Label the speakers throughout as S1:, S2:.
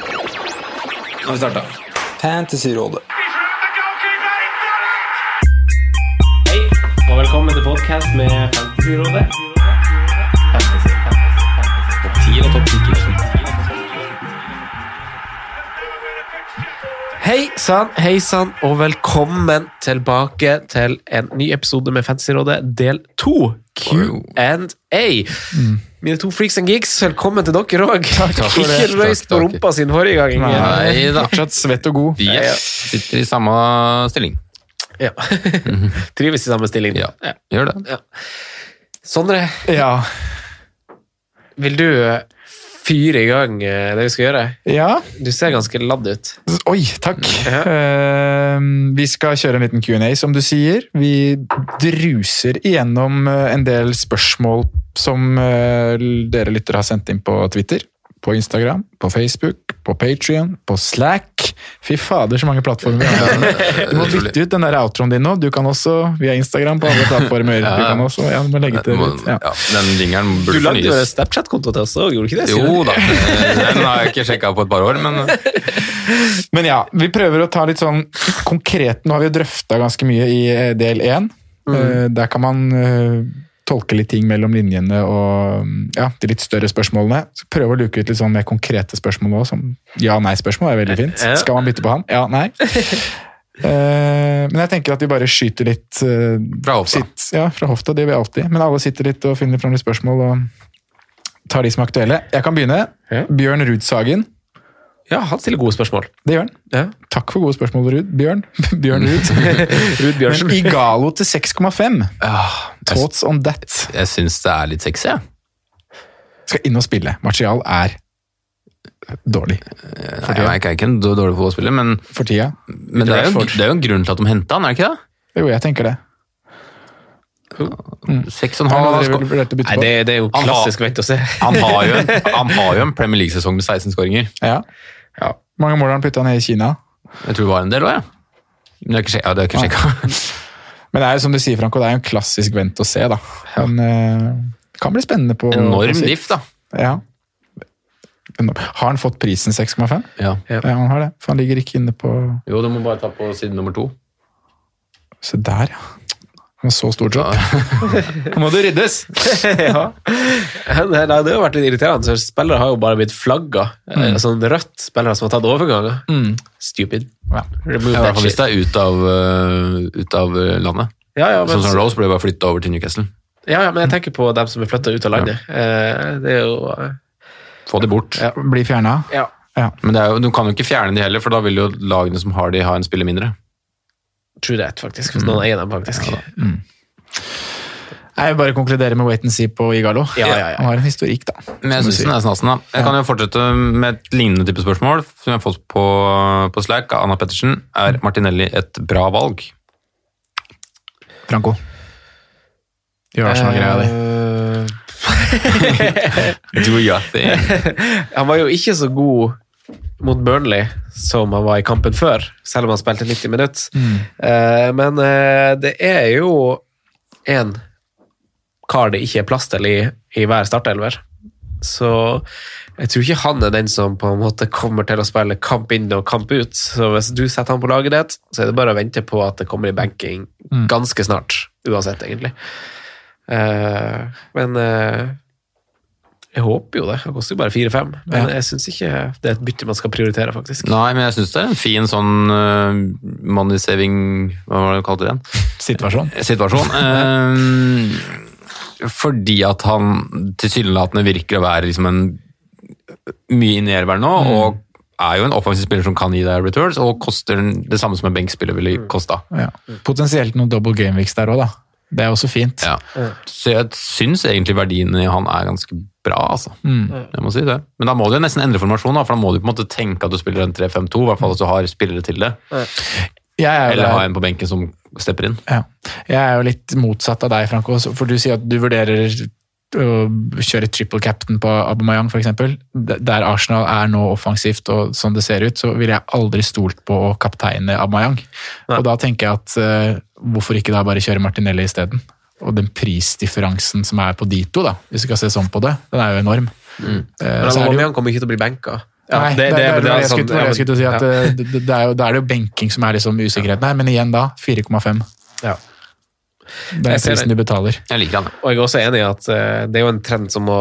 S1: Nå har vi starta.
S2: Fantasyrådet.
S3: The goalkeeper, he done it!
S4: Hei, og velkommen til podcast med Fantasyrådet. Hei sann, hei sann, og velkommen tilbake til en ny episode med Fantasyrådet, del to. Q&A. Mine to freaks and geeks, velkommen til dere òg.
S5: takk for det.
S4: Ikke røyst på
S5: Takk, takk.
S4: rumpa sin forrige gang.
S5: Nei da.
S2: Fortsatt svett og god.
S5: Yes. Sitter i samme stilling.
S4: Ja. Trives i samme stilling.
S5: Ja, gjør det.
S4: Sondre,
S2: Ja.
S4: vil du eh, fyre i gang eh, det vi skal gjøre?
S2: ja.
S4: Du ser ganske ladd ut.
S2: S- Oi, takk.
S4: Ja.
S2: Eh, vi skal kjøre en liten Q&A, som du sier. Vi druser igjennom eh, en del spørsmål som eh, l- dere lyttere har sendt inn på Twitter, på Instagram, på Facebook, på Patrion, på Slack. Fy fader, så mange plattformer vi har. Du må
S5: Utrolig.
S2: bytte ut den der outroen din nå. Du kan også via Instagram på alle plattformer. Du kan også, ja, du må legge til
S5: Må-
S2: litt. Ja.
S5: Ja, den jingeren
S4: Du
S5: burde
S4: lagde jo en
S5: fornyes.
S4: Snapchat-konto til oss òg, gjorde du ikke det? Signe?
S5: Jo da, den har jeg ikke sjekka på et par år, men
S2: Men ja, vi prøver å ta litt sånn konkret. Nå har vi jo drøfta ganske mye i eh, del én.
S4: Mm.
S2: Eh, Der kan man eh, tolke litt ting mellom linjene og mm, ja, de litt større spørsmålene. Så prøve å luke ut litt sånn mer konkrete spørsmål òg, som ja-nei-spørsmål er veldig fint.
S4: Ja.
S2: Skal man bytte på han? Ja, nei. Eh, Men jeg tenker at vi bare skyter litt eh,
S5: fra hofta.
S2: sitt, ja, fra hofta. Det gjør vi alltid. Men alle sitter litt og finner fram litt spørsmål og tar de som er aktuelle. Jeg kan begynne.
S4: Ja.
S2: Bjørn Rudsagen.
S4: Ja, han stiller gode spørsmål.
S2: Det gjør han.
S4: Ja. Mm.
S2: Takk for gode spørsmål, Rud. Bjørn. Bjørn Ruud.
S4: Ruud Bjørnsen.
S2: Men Igalo til 6,5.
S5: Ah, Jeg,
S2: Thoughts on that.
S5: jeg syns det er litt sexy, jeg.
S2: Skal inn og spille. Martial er dårlig
S5: Nei, Jeg er ikke en d- dårlig fotballspiller, men,
S2: for tida.
S5: men det, er jo,
S4: Rashford.
S5: det er jo en grunn til at de henta han, er det ikke det?
S2: Jo, jeg tenker det.
S5: Seks og en
S2: Mm. Han
S5: halv
S2: har
S5: sko-
S2: drevet- vurdert å bytte
S4: Nei,
S2: på.
S4: det, det er jo
S5: Han har-
S4: klassisk vent og se.
S5: han har, jo en, han har jo en Premier League-sesong med 16 skåringer.
S2: Ja.
S4: Ja.
S2: Hvor Mange mål har han putta ned i Kina.
S5: Jeg tror det var en del òg, jeg. Men det er ikke sjek- ja, det er ikke sjekka.
S2: Men det er jo som du sier, Franco, det er jo en klassisk vent og se, da. Men eh, kan bli spennende på på
S5: Enorm
S2: sikt.
S5: diff, da.
S2: Ja. Enorm. Har han fått prisen 6,5?
S5: Ja.
S4: Ja.
S2: Ja, han har det. For han ligger ikke inne på
S5: Jo, du må bare ta på side nummer to.
S2: Se der, ja. Han har så stor jobb. Nå må det ryddes!
S4: ja. Nei, nei, det har jo vært litt irriterende. så Spillere har jo bare blitt flagga. Eh, Sånn rødt spillere som har tatt overganger. Stupid.
S2: Mm. Ja.
S4: Remove that
S5: Ja, I hvert fall hvis
S4: shit.
S5: det er ut av, øh, ut av øh, landet.
S4: Ja, ja,
S5: Sånn som
S4: men,
S5: Rose ble bare flytta over til Newcastle.
S4: ja, ja, men jeg tenker på dem som er flytta ut av landet. Eh, Det er jo eh,
S5: Få de bort.
S4: Ja.
S2: Blir fjerna.
S4: Ja.
S2: Ja.
S5: Men det er jo, du kan jo ikke fjerne de heller, for da vil jo lagene som har de, ha en spiller mindre.
S4: True that, faktisk. Hvis noen eier dem, faktisk.
S2: Jeg vil bare konkludere med wait and see på Igalo.
S4: Ja, ja, ja.
S2: Han har en historikk, da.
S5: Men jeg synes den er snasen, da. Jeg kan jo fortsette med et lignende type spørsmål som jeg har fått på, på Slack av Anna Pettersen. Er Martinelli et bra valg?
S2: Franco. sånn Gjør Arsenal-greia di.
S4: Eh,
S5: Do you think?
S4: Han var jo ikke så god mot Burnley som han var i kampen før, selv om han spilte 90 minutter. men eh, det er jo én kar det ikke er plass til i, i hver startelver. Så jeg tror ikke han er den som på en måte kommer til å spille kamp inn og kamp ut. Så hvis du setter han på laget ditt, så er det bare å vente på at det kommer i benking
S2: Mm.
S4: ganske snart. Uansett, egentlig. Eh, men eh, jeg håper jo det. Han koster jo bare 4-5. Men jeg syns ikke det er et bytte man skal prioritere, faktisk.
S5: Nei, men jeg syns det er en fin sånn øh, money saving Hva var det du kalte det igjen?
S2: Situasjon.
S5: situasjon. Eh, fordi at han tilsynelatende virker å være liksom en mye nærværende nå, og er jo en offensiv spiller som kan gi deg returns, og koster den- det samme som en benkspiller ville kosta.
S2: Ja. Potensielt noen double game weeks der òg, da. Det er også fint.
S5: Ja. Så jeg syns egentlig verdiene i han er ganske bra, altså. Jeg må si det. Men da må du jo nesten endre formasjon, da, for da må du på en måte tenke at du spiller en 3-5-2, i hvert fall hvis du har spillere til det.
S2: Jeg, er jo
S5: Eller ha
S2: der,
S5: en på benken som stepper inn.
S2: ja. jeg er jo litt motsatt av deg, Franco, så- for du sier at du vurderer å kjøre triple captain på Aubameyang, for eksempel. D- Der Arsenal er nå offensivt, og sånn det ser ut, så ville jeg aldri stolt på å kapteine Aubameyang. Og da tenker jeg at eh, hvorfor ikke da bare kjøre Martinelli isteden? Og den prisdifferansen som er på de to, da, hvis vi skal se sånn på det, den er jo enorm. Eh,
S4: Mm. Men
S2: så er det jo-
S4: Aubameyang kommer ikke til å bli benka. Ja,
S2: Nei,
S4: det- det-
S2: det,
S4: men
S2: det,
S4: det er
S2: var det jeg
S4: sånn-
S2: skulle- det var det jeg skulle til å si. at
S4: ja.
S2: eh, det, det, det er jo, da er det jo benking som er liksom usikkerheten her, men igjen da 4,5.
S4: Ja.
S2: Det
S4: Jeg
S2: er
S4: ser
S2: prisen du betaler.
S5: Jeg liker han.
S4: Og jeg er også enig i at eh, det er jo en trend som må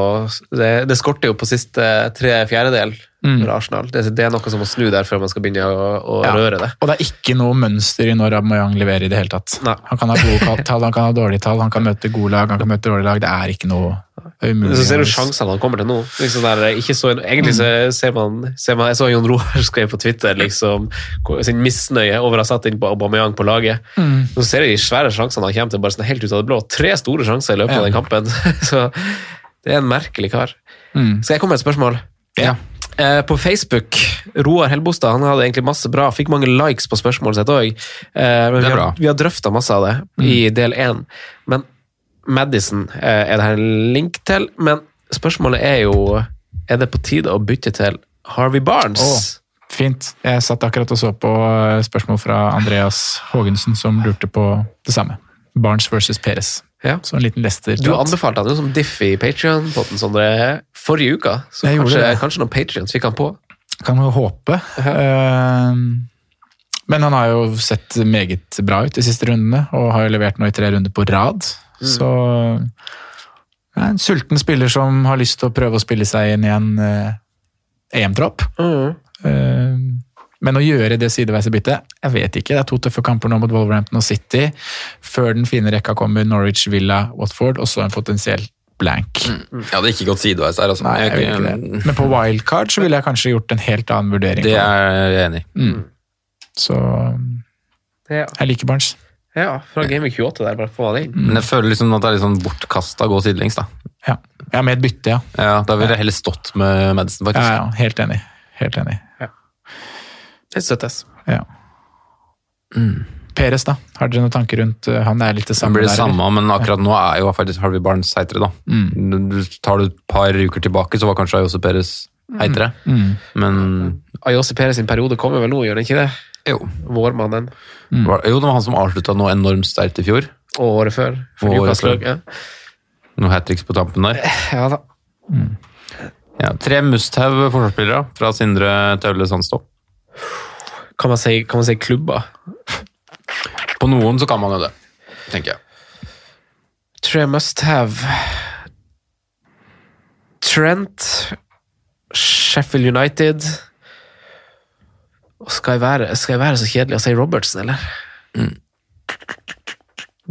S4: Det, det skorter jo på siste tre fjerdedel
S2: Mm.
S4: for Arsenal. Det, det er noe som må snu der før man skal begynne å, å
S2: Ja.
S4: røre det.
S2: Og det er ikke noe mønster i når Aubameyang leverer i det hele tatt.
S4: Nei.
S2: Han kan ha gode tall, han kan ha dårlige tall, han kan møte gode lag, han kan møte dårlige lag. Det er ikke noe det er
S4: Men
S2: umulig.
S4: Så ser du sjansene han kommer til nå. Liksom der, eh, ikke så, egentlig så
S2: Mm.
S4: ser man, ser man Jeg så Jon Roar skrev på Twitter liksom, hvor- sin misnøye over å ha satt inn på Aubameyang på laget.
S2: Mm.
S4: Nå ser jeg de svære sjansene han kommer til, bare sånn helt ut av det blå. Tre store sjanser i løpet av
S2: Ja.
S4: den kampen. Så det er en merkelig kar.
S2: Mm.
S4: Skal jeg komme med et spørsmål?
S2: Ja.
S4: Eh, På Facebook, Roar Helbostad han hadde egentlig masse bra, fikk mange likes på spørsmålet sitt òg. Men
S5: Det
S4: vi
S5: er
S4: har,
S5: bra.
S4: vi har drøfta masse av det i del én. Men Madison eh, er det her en link til. Men spørsmålet er jo Er det på tide å bytte til Harvey Barnes?
S2: Åh. Fint. Jeg satt akkurat og så på eh, spørsmål fra Andreas Haagensen, som lurte på det samme. Barnes versus Perez.
S4: Ja.
S2: Så en liten lester.
S4: Du anbefalte han jo som diff i Patrion-potten Sondre, forrige uka. Så
S2: Jeg gjorde
S4: kanskje,
S2: det.
S4: kanskje noen Patrions fikk han på.
S2: Kan jo håpe. Ehm, Men han har jo sett meget bra ut de siste rundene, og har jo levert nå i tre runder på rad. Så det er en sulten spiller som har lyst til å prøve å spille seg inn i en eh, EM-tropp. Ehm, Men å gjøre det sideveise byttet, jeg vet ikke. Det er to tøffe kamper nå mot Wolverhampton og City. Før den fine rekka kommer Norwich, Villa, Watford, og så en potensiell blank.
S5: Mm. Jeg hadde ikke gått sideveis der, altså.
S2: Mm. Nei, jeg vil
S5: Jeg-
S2: ikke Mm. det. Men på wildcard så ville jeg kanskje gjort en helt annen vurdering.
S5: Det
S2: på
S5: er jeg enig i.
S2: Så
S4: Ja.
S2: jeg liker Barnes.
S4: ja, fra Game Week 28 der, bare få han inn.
S5: Men jeg føler liksom at det er litt sånn bortkasta å gå sidelengs, da.
S2: Ja, ja med et bytte, ja.
S5: Ja, da ville jeg heller stått med Madison,
S2: ja,
S5: faktisk.
S2: ja helt enig. Helt enig.
S4: Det støttes.
S2: Ja. Peres, da? Har dere noen tanker rundt eh, Han er litt det
S5: Det
S2: samme.
S5: blir Mm. det
S2: der, eller?
S5: samme, men akkurat nå er jo faktisk Harvey Barnes heitere, da. Du- Tar du et par uker tilbake, så var kanskje Ayose Perez heitere.
S2: Mm.
S5: Men
S4: Ayose Perez sin periode kommer vel nå, gjør den ikke det?
S5: jo.
S4: Vårmannen
S5: Var, jo, det var han som avslutta noe enormt sterkt i fjor.
S4: og året før. For
S5: Og året
S4: Newcastle,
S5: før.
S4: ja.
S5: Noe hat tricks på tampen der.
S4: ja da.
S5: Ja, tre Musthaug forsvarsspillere fra Sindre Taule Sandstå.
S4: Kan man si, kan man si klubber?
S5: På noen så kan man jo det, tenker jeg.
S4: Tror jeg must have Trent, Sheffield United Og skal jeg være, skal jeg være så kjedelig å si Robertsen, eller? Mm.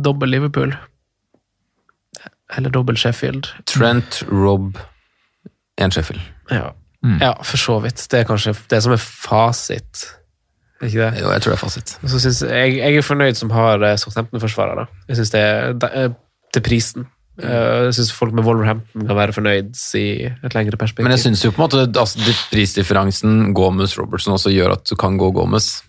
S4: Dobbel Liverpool. Eller dobbel Sheffield.
S5: Trent, Rob, en Sheffield.
S4: Ja. Mm. ja, for så vidt. Det er kanskje det som er fasit. Er ikke det?
S5: Jo, jeg tror det er fasit.
S4: Så synes jeg, jeg er fornøyd som har eh, Southampton-forsvarer. da. Jeg synes det er det er til prisen.
S2: Mm.
S4: Eh, Jeg synes folk med Wolverhampton kan være fornøyd i et lengre perspektiv.
S5: Men jeg syns jo på en måte altså, det- prisdifferansen Gomez-Robertson også gjør at du kan gå Gomez.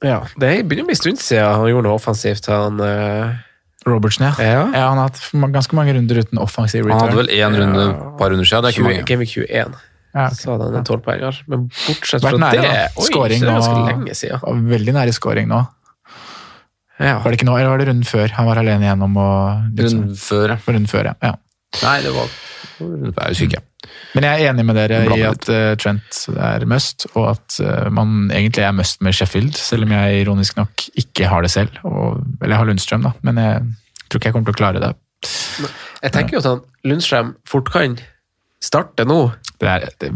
S4: ja, det er- begynner å bli en stund siden han gjorde noe offensivt. Han, eh,
S2: Robertsen, ja.
S4: ja,
S2: ja. Han har hatt ma- ganske mange runder uten offensiv
S5: Han hadde
S2: return.
S5: vel én runde par runder siden. Det er
S4: 20,
S5: ikke mange.
S4: Game Week 21
S2: Ja, ok.
S4: så hadde han en 12 poenger. Men bortsett fra
S2: Vært nære, da.
S4: det Oi, så
S2: Scoring
S4: det er ganske
S2: og-
S4: lenge siden.
S2: Og Veldig nære scoring nå.
S4: Ja.
S2: Var det ikke nå, eller var det runden før? Han var alene igjennom og liksom,
S5: Runde før, ja.
S2: Runden før, ja. ja.
S5: Nei, det var Det er jo syke.
S2: Men jeg er enig med dere i
S5: Blander
S2: at eh, Trent er must, og at eh, man egentlig er must med Sheffield, selv om jeg ironisk nok ikke har det selv. Og, eller jeg har Lundstrøm, da, men jeg tror ikke jeg kommer til å klare det.
S4: Jeg tenker jo at han Lundstrøm fort kan starte nå.
S2: Det er, det,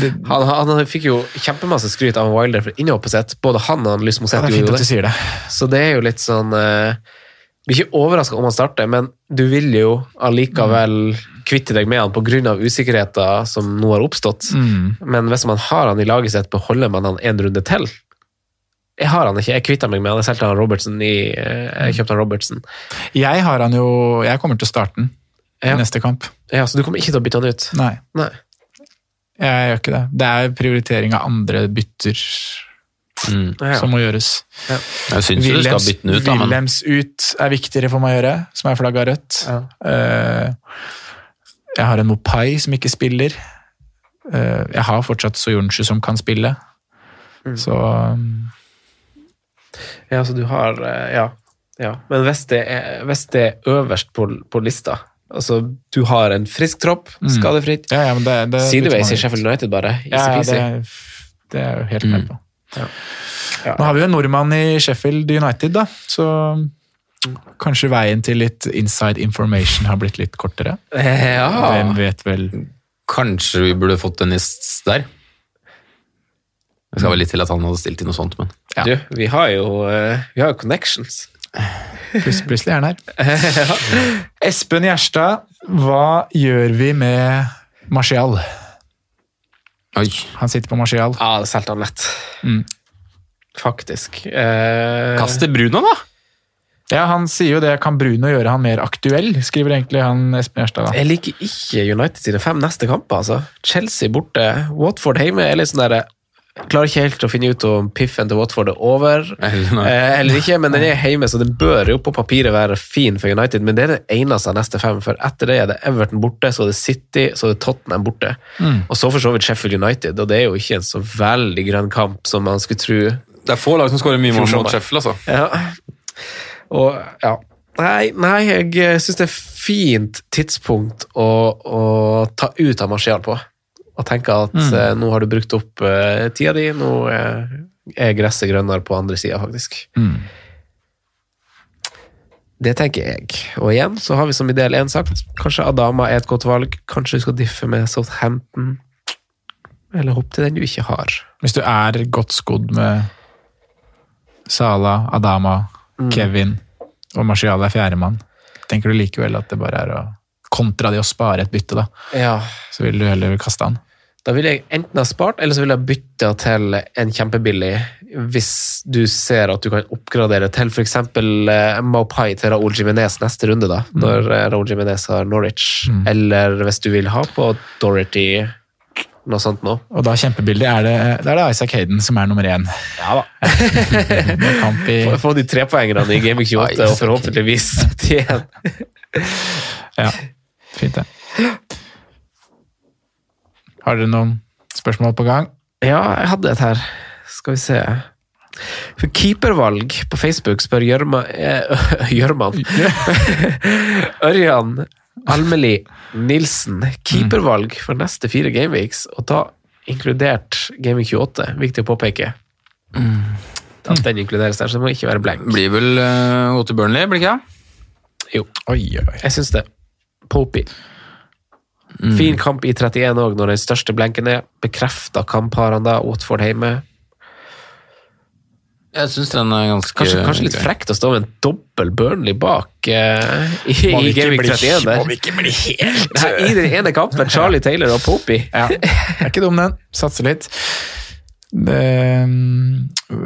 S2: det,
S4: Han, han, han fikk jo kjempemasse skryt av Wilder for innhoppet sitt. Både han og han Lys
S2: det
S4: Moseth
S2: er
S4: gjorde
S2: fint
S4: jo
S2: at
S4: det.
S2: du sier det.
S4: Så det er jo litt sånn eh, Du blir ikke overraska om han starter, men du vil jo allikevel kvitte deg med han pga. usikkerheter som nå har oppstått.
S2: Mm.
S4: Men hvis man har han i laget sitt, beholder man han en runde til. Jeg har han ikke, jeg kvitta meg med han. Jeg solgte han Robertsen i eh, Jeg kjøpte han Robertsen.
S2: Jeg har han jo Jeg kommer til å starte den
S4: Ja.
S2: i neste kamp.
S4: Ja, Så du kommer ikke til å bytte han ut?
S2: Nei,
S4: Nei.
S2: jeg gjør ikke det. Det er prioritering av andre bytter
S5: Mm.
S4: Ja.
S2: som må gjøres.
S5: Jeg syns jo du skal
S2: Williams
S5: bytte den ut, da, men
S2: Williams ut er viktigere for meg å gjøre, som er flagga rødt.
S4: Ja.
S2: Eh, jeg har en Mopai som ikke spiller. Eh, jeg har fortsatt Soyuncu som kan spille.
S4: Mm.
S2: Så um,
S4: Ja, så du har eh, Ja. ja. Men hvis det er, hvis det er øverst på, på lista Altså, du har en frisk tropp, skadefritt.
S2: Mm. Ja, ja, men det, det,
S4: Sideways i
S2: det-
S4: Sheffield United, bare.
S2: Ja, ja,
S4: Easy-peasy.
S2: det, det er jeg jo
S5: Mm.
S2: helt med på.
S4: Ja.
S2: Nå har vi jo en nordmann i Sheffield United, da, så
S4: Mm.
S2: kanskje veien til litt inside information har blitt litt kortere.
S4: Eh, ja.
S2: Hvem vet vel
S5: Kanskje vi burde fått Dennis der? Det skal vel litt til at han hadde stilt i noe sånt, men
S2: Ja.
S4: Du, vi har jo eh, vi har jo connections.
S2: Plus- Plutselig er han her. Espen Gjerstad, hva gjør vi med Martial?
S5: Oi.
S2: Han sitter på Martial.
S4: Ja, det solgte han lett.
S2: Mm.
S4: Faktisk. Eh,
S5: Kast til Bruno, da!
S2: Ja, Han sier jo det. Kan Bruno gjøre han mer aktuell? Skriver egentlig han Espen Gjerstad. da.
S4: Jeg liker ikke United sine fem neste kamper. altså. Chelsea borte, Watford hjemme. Jeg er litt sånn der, klarer ikke helt å finne ut om piffen til Watford er over.
S5: Eller nei.
S4: eh, eller ikke, men den er hjemme, så den bør jo på papiret være fin for United. Men det er den eneste av neste fem, for etter det er det Everton borte, så er det City, så er det Tottenham borte.
S5: Mm.
S4: Og så for så vidt Sheffield United, og det er jo ikke en så veldig grønn kamp som man skulle tro.
S5: Det er få lag som skårer mye mål
S4: Fjordsommer.
S5: mot Sheffield, altså.
S4: Ja. Og ja. Nei, nei jeg syns det er fint tidspunkt å, å ta ut av Martial på. Og tenke at eh, nå har du brukt opp eh, tida di, nå eh, er gresset grønnere på andre sida, faktisk.
S2: Mm.
S4: Det tenker jeg. Og igjen så har vi som i del én sagt, kanskje Adama er et godt valg. Kanskje du skal diffe med Southampton. Eller hopp til den du ikke har.
S2: Hvis du er godt skodd med Sala, Adama,
S4: Mm.
S2: Kevin og Martial er fjerdemann, tenker du likevel at det bare er å kontra det å spare et bytte, da?
S4: Ja,
S2: Så vil du heller kaste han?
S4: Da ville jeg enten ha spart, eller så ville jeg bytta til en kjempebillig, hvis du ser at du kan oppgradere til f.eks. Maupai til Raúl Jiménez neste runde, da, når eh, Raúl Jiménez har Norwich. Eller hvis du vil ha på Dorothy noe sånt nå.
S2: Og da kjempebildet er det, da er det Isaac Hayden som er nummer én.
S4: Ja da.
S2: Med kamp i
S4: Få, få de trepoengerne i Gaming 28, og forhåpentligvis 71.
S2: Ja, fint det. Har dere noen spørsmål på gang?
S4: Ja, jeg hadde et her. Skal vi se. For keepervalg på Facebook spør Gjørma eh, Gjørman. Ørjan Almeli Nilsen. Keepervalg for neste fire gameweeks, og da inkludert Gaming 28. Viktig å påpeke. At den inkluderes der, så det må ikke være blank.
S5: Blir vel uh, til Burnley, blir ikke det?
S4: Jo,
S2: Oi, oi, oi.
S4: jeg syns det. Popey. Fin kamp i 31 òg, når den største blenken er. Bekrefta kampparene da, Watford hjemme.
S5: Jeg syns den er ganske
S4: Kanskje,
S2: Eh,
S4: kanskje litt
S5: grei.
S4: frekt å stå med en dobbel Burnley bak eh, i,
S2: Må
S4: i
S2: vi ikke
S4: Gaming
S2: bli-
S4: 31 der.
S2: må vi ikke bli helt
S4: Nei, I den ene kampen, Charlie Taylor og Poppy.
S2: Ja, det er ikke dum den. Satser litt. Det, ehm,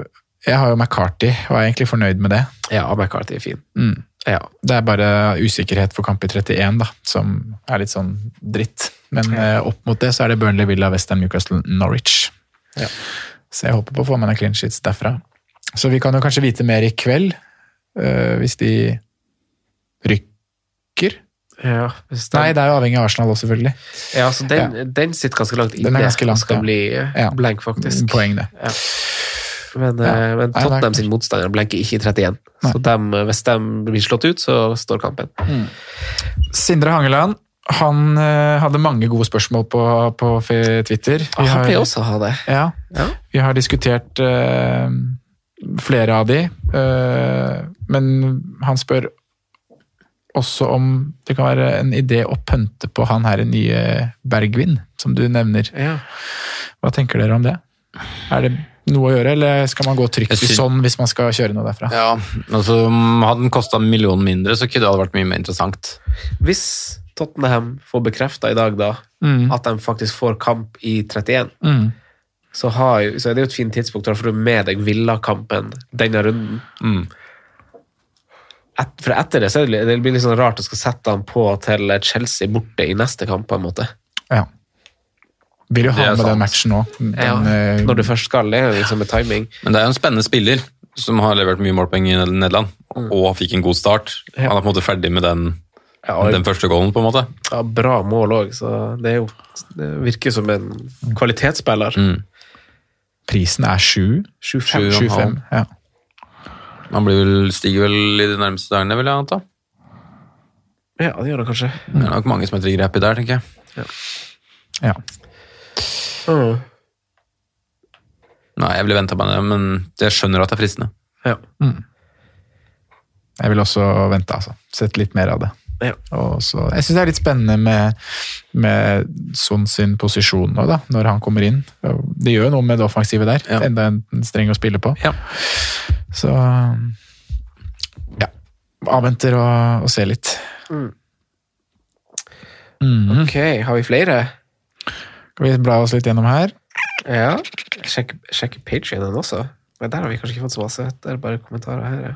S2: jeg har jo McCarty og er egentlig fornøyd med det.
S4: Ja, McCarthy er fin.
S2: Mm.
S4: Ja.
S2: Det er bare usikkerhet for kamp i 31 da, som er litt sånn dritt. Men eh, opp mot det så er det Burnley, Villa, Westham, Newcastle, Norwich.
S4: Ja.
S2: Så jeg håper på å få med noen clean sheets derfra. Så vi kan jo kanskje vite mer i kveld, eh, hvis de rykker.
S4: Ja, hvis
S2: Nei,
S4: den,
S2: det er jo avhengig av Arsenal også, selvfølgelig.
S4: ja, så den, den sitter ganske langt inne.
S2: Den er ganske
S4: og
S2: langt,
S4: skal
S2: ja.
S4: bli eh,
S2: Ja.
S4: blank, faktisk.
S2: Poeng det.
S4: Men, eh, men
S2: Nei, det er
S4: Tottenham
S2: klart.
S4: sin motstander blenker ikke i 31.
S2: Nei.
S4: Så dem, eh, hvis de blir slått ut, så står kampen.
S2: Sindre Hangeland, han eh, hadde mange gode spørsmål på, på fe- Twitter. Vi
S4: Han
S2: har-
S4: pleier også å ha det.
S2: Ja.
S4: Ja.
S2: Vi har diskutert eh, flere av de, eh, men han spør også om det kan være en idé å pønte på han her nye Bergvin, som du nevner.
S4: Ja.
S2: Hva tenker dere om det? Er det noe å gjøre, eller skal man gå trygt
S5: Jeg
S2: i
S5: syn-
S2: sånn hvis man skal kjøre noe derfra?
S5: Ja, altså Hadde den kosta en million mindre, så kunne det hadde vært mye mer interessant.
S4: Hvis Tottenham får bekrefta i dag da,
S2: Mm.
S4: at de faktisk får kamp i 31,
S2: Mm.
S4: så, har jo, så er det jo et fint tidspunkt, da, for du har med deg Villa-kampen denne runden.
S5: Mm.
S4: Et, for etter det så er det, det blir litt sånn rart å skal sette han på til Chelsea borte i neste kamp, på en måte.
S2: Ja. Vil jo
S5: Det
S2: ha
S5: er
S2: med den
S5: sant.
S2: matchen nå. Den,
S4: Ja,
S2: eh,
S4: Når du først skal, det er jo liksom med timing.
S5: Men det er jo en spennende spiller som har levert mye målpoeng i Ned- Nederland, og fikk en god start. Han er på en måte ferdig med den,
S4: Ja, og-
S5: den første goalen, på en måte.
S4: Ja, bra mål òg, så det er jo det virker som en kvalitetsspiller.
S5: Mm.
S2: Prisen er sju.
S4: 7-5.
S2: 7-5. Ja.
S5: Han blir vel, stiger vel i de nærmeste dagene, vil jeg anta.
S4: Ja, det gjør han kanskje.
S5: Det er nok mange som heter Greppi der, tenker jeg.
S2: Ja.
S4: Mm.
S5: Nei, jeg ville venta meg det, men jeg skjønner at det er fristende.
S4: Ja.
S5: Mm.
S2: Jeg vil også vente, altså. Sett litt mer av det.
S4: Ja.
S2: Og så, jeg syns det er litt spennende med, med Son sin posisjon nå, da, når han kommer inn. Det gjør jo noe med det offensive der.
S5: Ja.
S2: Enda en streng å spille på.
S5: Ja.
S2: Så ja. Avventer og, og ser litt.
S5: Mm.
S2: Mhm.
S4: Ok, har vi flere?
S2: Skal vi bla oss litt gjennom her?
S4: Ja. Sjekk, sjekk Patreonen også. Men der har vi kanskje ikke fått så masse. Det er bare kommentarer her, ja.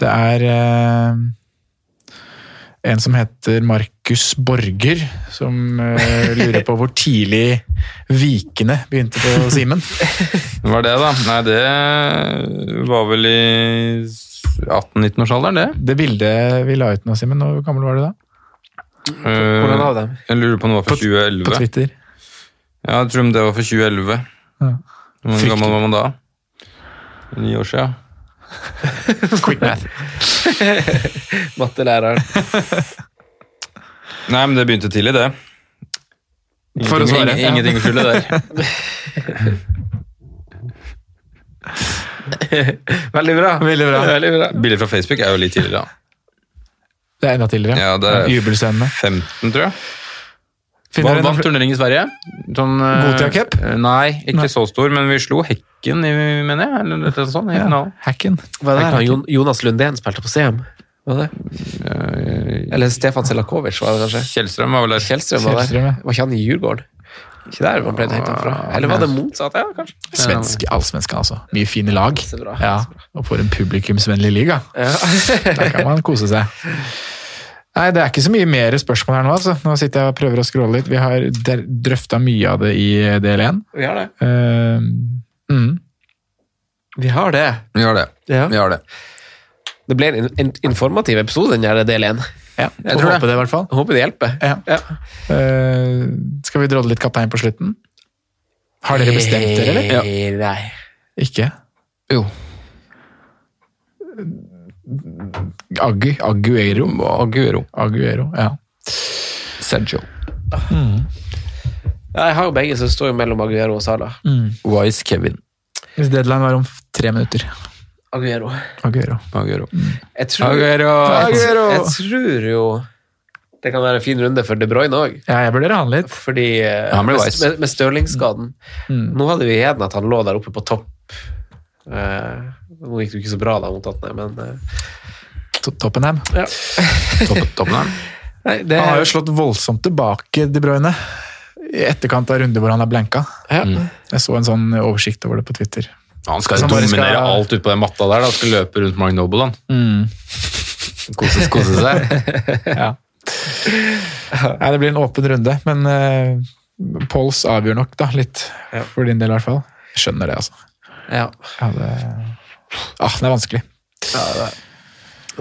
S2: Det er eh, en som heter Markus Borger, som eh, lurer på hvor tidlig Vikene begynte på Simen.
S5: Hva er det, da? Nei, det var vel i 18-19-årsalderen, det.
S2: Det bildet vi la ut nå, Simen, hvor gammel var du da?
S4: Hvordan av dem?
S5: Eh, Jeg lurer på om det var for
S2: På
S5: 2011.
S2: Twitter.
S5: Ja, jeg tror det var for 2011.
S2: Ja.
S5: Hvor
S2: Fryktelig.
S5: gammel var man da? Ni år siden.
S2: Quick math.
S4: Mattelæreren.
S5: Nei, men det begynte tidlig, det. Ingenting,
S2: For å svare.
S5: ingen- Ingenting å skylde der.
S4: Veldig bra.
S2: Veldig bra.
S4: Veldig bra.
S5: Bilder fra Facebook er jo litt tidligere, da.
S2: Det er enda tidligere.
S5: Ja, det er-
S2: Jubelscenene.
S5: 15, tror jeg.
S2: Finner
S5: Vant
S2: dere noen
S5: vant
S2: fl-
S5: turnering i Sverige. Sånn, eh,
S2: Gothia Cup?
S5: eh, Nei, ikke
S2: Nei.
S5: så stor, men vi slo Hekken, i- mener jeg. Eller noe sånt. i
S2: ja,
S5: finalen.
S2: hacken.
S4: Hva er det her? Jon- Jonas Lundén spilte på CM? Var det?
S5: Eh,
S4: Eller Stefan Selakovic, var det kanskje?
S5: Kjellstrøm var vel der.
S4: Kjellstrøm var
S2: Kjellstrøm, ja.
S4: der. Var ikke han i Djurgården? Ikke der man ble henta fra? Eller var det motsatt? Ja, kanskje.
S2: Svensk, Allsvenskan, altså. Mye fine lag.
S4: Så bra.
S2: Ja, og for en publikumsvennlig liga. Der kan man kose seg. Nei, Det er ikke så mye mer spørsmål her nå. altså. Nå sitter jeg og prøver å scrolle litt. Vi har drøfta mye av det i del 1.
S4: Vi har det.
S2: mm.
S4: Vi har det.
S5: Vi har det.
S4: Ja.
S5: Vi har det.
S4: Det ble en, en informativ episode, den der del én.
S2: Ja, jeg
S4: tror
S2: tror
S4: det.
S2: håpe det, i hvert fall.
S4: Håper det hjelper.
S2: Ja. Eh, skal vi drodle litt kaptein på slutten? Har dere bestemt dere, eller?
S4: Eh, Nei.
S2: Ikke?
S5: Jo.
S2: Agu, Aguero.
S5: Aguero.
S2: Aguero, ja.
S5: Sergio.
S4: Ja, Jeg har jo begge som står jo mellom Aguero og Sala.
S5: Wise Kevin.
S2: Hvis deadline var om f- tre minutter.
S4: Aguero.
S2: Aguero.
S5: Aguero.
S4: Jeg tror,
S5: Aguero.
S2: Aguero!
S4: Jeg tror jo det kan være en fin runde for De Bruyne òg.
S2: Ja, jeg vurderer han litt.
S4: Fordi eh,
S5: Han ble
S4: med,
S5: wise.
S4: med, med Stirling-skaden
S2: Mm.
S4: Nå hadde vi igjen at han lå der oppe på topp. Eh, nå gikk det jo ikke så bra da mot Tottenham, men eh,
S2: To- Toppenham.
S4: ja.
S5: Topp- Toppen her.
S4: Nei, det,
S2: Han har jo slått voldsomt tilbake, De Bruyne. I etterkant av runder hvor han er blanka.
S4: ja.
S2: Jeg så en sånn oversikt over det på Twitter.
S5: Han skal jo
S2: Så han bare
S5: dominere
S2: skal- Mm.
S5: alt ute på den matta der. da. Han skal løpe rundt Mark Noble, han. Kose, kose seg.
S2: Ja. Nei, det blir en åpen runde, men eh, Pols avgjør nok da, litt.
S4: Ja.
S2: For din del, i hvert fall. Jeg skjønner det, altså.
S4: Ja.
S2: Ja, det... Ah, det er vanskelig.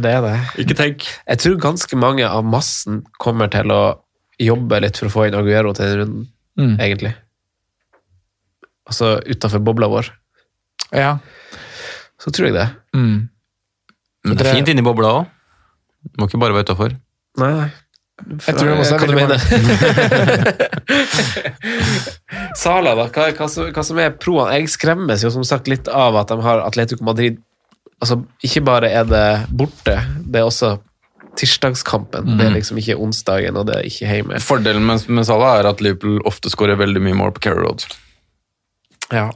S4: det er det.
S5: Ikke tenk.
S4: Jeg tror ganske mange av massen kommer til å jobbe litt for å få inn Aguero til den runden,
S2: Mm.
S4: egentlig. Altså utenfor bobla vår.
S2: Ja.
S4: Så tror jeg det.
S2: Mm.
S5: Men det er fint inni bobla òg. Må ikke bare være utafor.
S4: Nei, nei.
S2: Jeg tror de også er
S4: Hva du
S2: veldig
S4: mener? Sala, da. Hva, hva, som, hva som er proene? Jeg skremmes jo som sagt litt av at de har Atletico Madrid Altså, ikke bare er det borte, det er også tirsdagskampen. Det
S2: Mm.
S4: er liksom ikke onsdagen, og det er ikke hjemme.
S5: Fordelen med, med Salah er at Liverpool ofte skårer veldig mye mål på Carrow Road.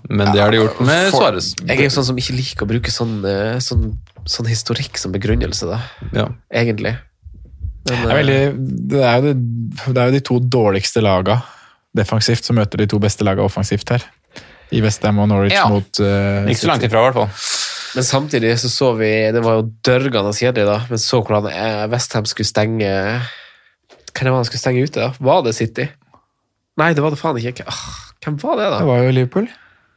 S5: Men det har de gjort med
S4: For-
S5: Suarez.
S4: Jeg er jo sånn som ikke liker å bruke sånn, eh, sånn, sånn historikk som begrunnelse, da.
S5: Ja.
S4: Egentlig. Men,
S2: Det, er
S4: eh,
S2: veldig, det, er jo det, det er jo de to dårligste laga defensivt som møter de to beste laga offensivt her. I Westham og Norwich
S5: Ja.
S2: mot eh,
S5: Ikke så langt ifra, i hvert fall.
S4: men samtidig så så vi Det var jo dørgende kjedelig, da. Men så hvordan eh, Westham skulle stenge Hvem var det han skulle stenge ute, da? Var det City? Nei, det var det faen ikke. Ah, hvem var det,
S2: Det
S4: da?
S2: var jo Liverpool.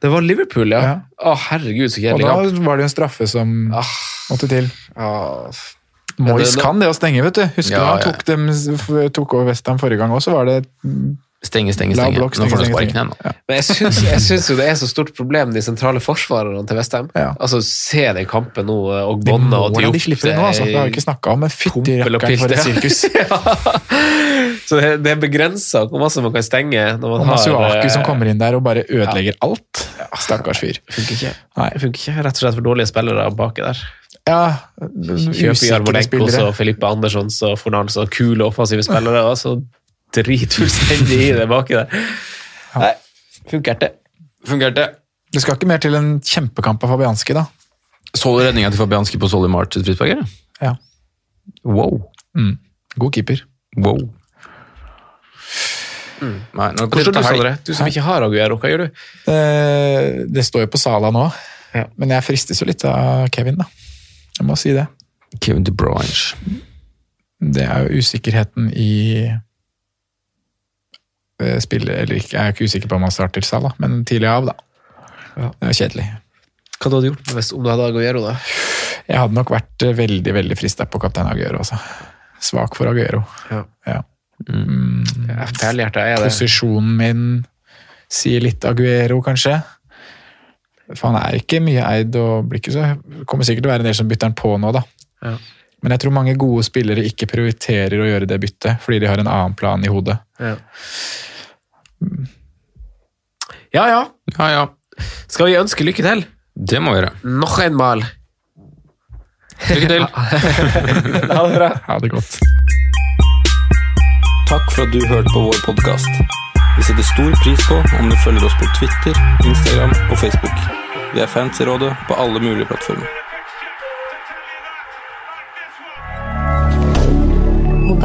S4: Det var Liverpool, ja. Å,
S2: Ja.
S4: herregud, så
S2: Og
S4: kjedelig
S2: da
S4: kamp.
S2: var det jo en straffe som
S4: Ah,
S2: måtte til.
S4: ah,
S2: Moyes
S4: det-
S2: kan det å stenge, vet du. Husker du
S5: Ja,
S2: han
S5: ja.
S2: tok, dem, tok over Westham forrige gang òg, så var det
S5: Stenge, stenge,
S2: Lav
S5: stenge.
S2: blokk,
S5: Nå
S2: stenge,
S5: får han
S2: stenge,
S5: sparken igjen. da.
S4: Men jeg syns, jeg syns jo det er så stort problem, de sentrale forsvarerne til Vestheim.
S2: Ja.
S4: Altså, se den kampen nå, eh, og
S2: De
S4: Bonna og
S2: målene de slipper inn nå, altså. Det har vi ikke snakka om, men fytti
S4: Pompel og
S2: rakkeren for et
S4: pilt,
S2: sirkus.
S4: ja. Så det, det er begrensa hvor masse man kan stenge når man
S2: Og
S4: har
S2: Masuaki
S4: eh,
S2: som kommer inn der og bare ødelegger alt. Stakkars fyr.
S4: Funker ikke.
S2: Nei.
S4: Det funker ikke. Rett og slett for dårlige spillere baki der.
S2: Ja,
S4: Kjøp
S2: usikre
S4: Jarmolenko
S2: spillere.
S4: og Filippe Andersson og Fornals og kule offensive spillere, og så drit fullstendig i det baki der. Nei, funker ikke.
S5: Fungerte.
S2: Det skal ikke mer til en kjempekamp av Fabianski, da.
S5: Så du redninga til Fabianski på Solly March sitt frispark, eller?
S2: Ja. Mm.
S5: Wow.
S2: God keeper.
S5: Wow. Mm. Nei, nå er det på
S4: Hvor
S5: tide
S4: står du,
S5: å ta helg.
S4: Sondre? Du som ikke har Aguero, hva gjør du?
S2: Eh, Det står jo på Sala nå,
S4: Ja.
S2: men jeg fristes jo litt av Kevin, da. Jeg må si det.
S5: Kevin De Bruyne.
S2: Det er jo usikkerheten i eh, spillet, eller ikke. Jeg er ikke usikker på om han starter Sala, men tidlig av, da.
S4: Ja.
S2: Det er jo kjedelig.
S4: Hva du hadde gjort hvis, om du hadde Aguero, da?
S2: Jeg hadde nok vært eh, veldig veldig frista på kaptein Aguero. Altså. Svak for Aguero.
S4: Ja.
S2: Ja.
S4: Ja, Perlehjertet er det.
S2: Posisjonen min sier litt Aguero, kanskje. For han er ikke mye eid og blir ikke så Kommer sikkert til å være en del som bytter han på nå, da.
S4: Ja.
S2: Men jeg tror mange gode spillere ikke prioriterer å gjøre det byttet, fordi de har en annen plan i hodet.
S4: Ja. ja ja,
S5: Ja, ja.
S4: skal vi ønske lykke til?
S5: Det må vi gjøre.
S4: Noch en mal.
S5: Lykke til.
S4: Ha det bra.
S2: Ha det godt.
S1: Takk for at du hørte på vår podkast. Vi setter stor pris på om du følger oss på Twitter, Instagram og Facebook. Vi er fans i rådet på alle mulige plattformer.
S3: The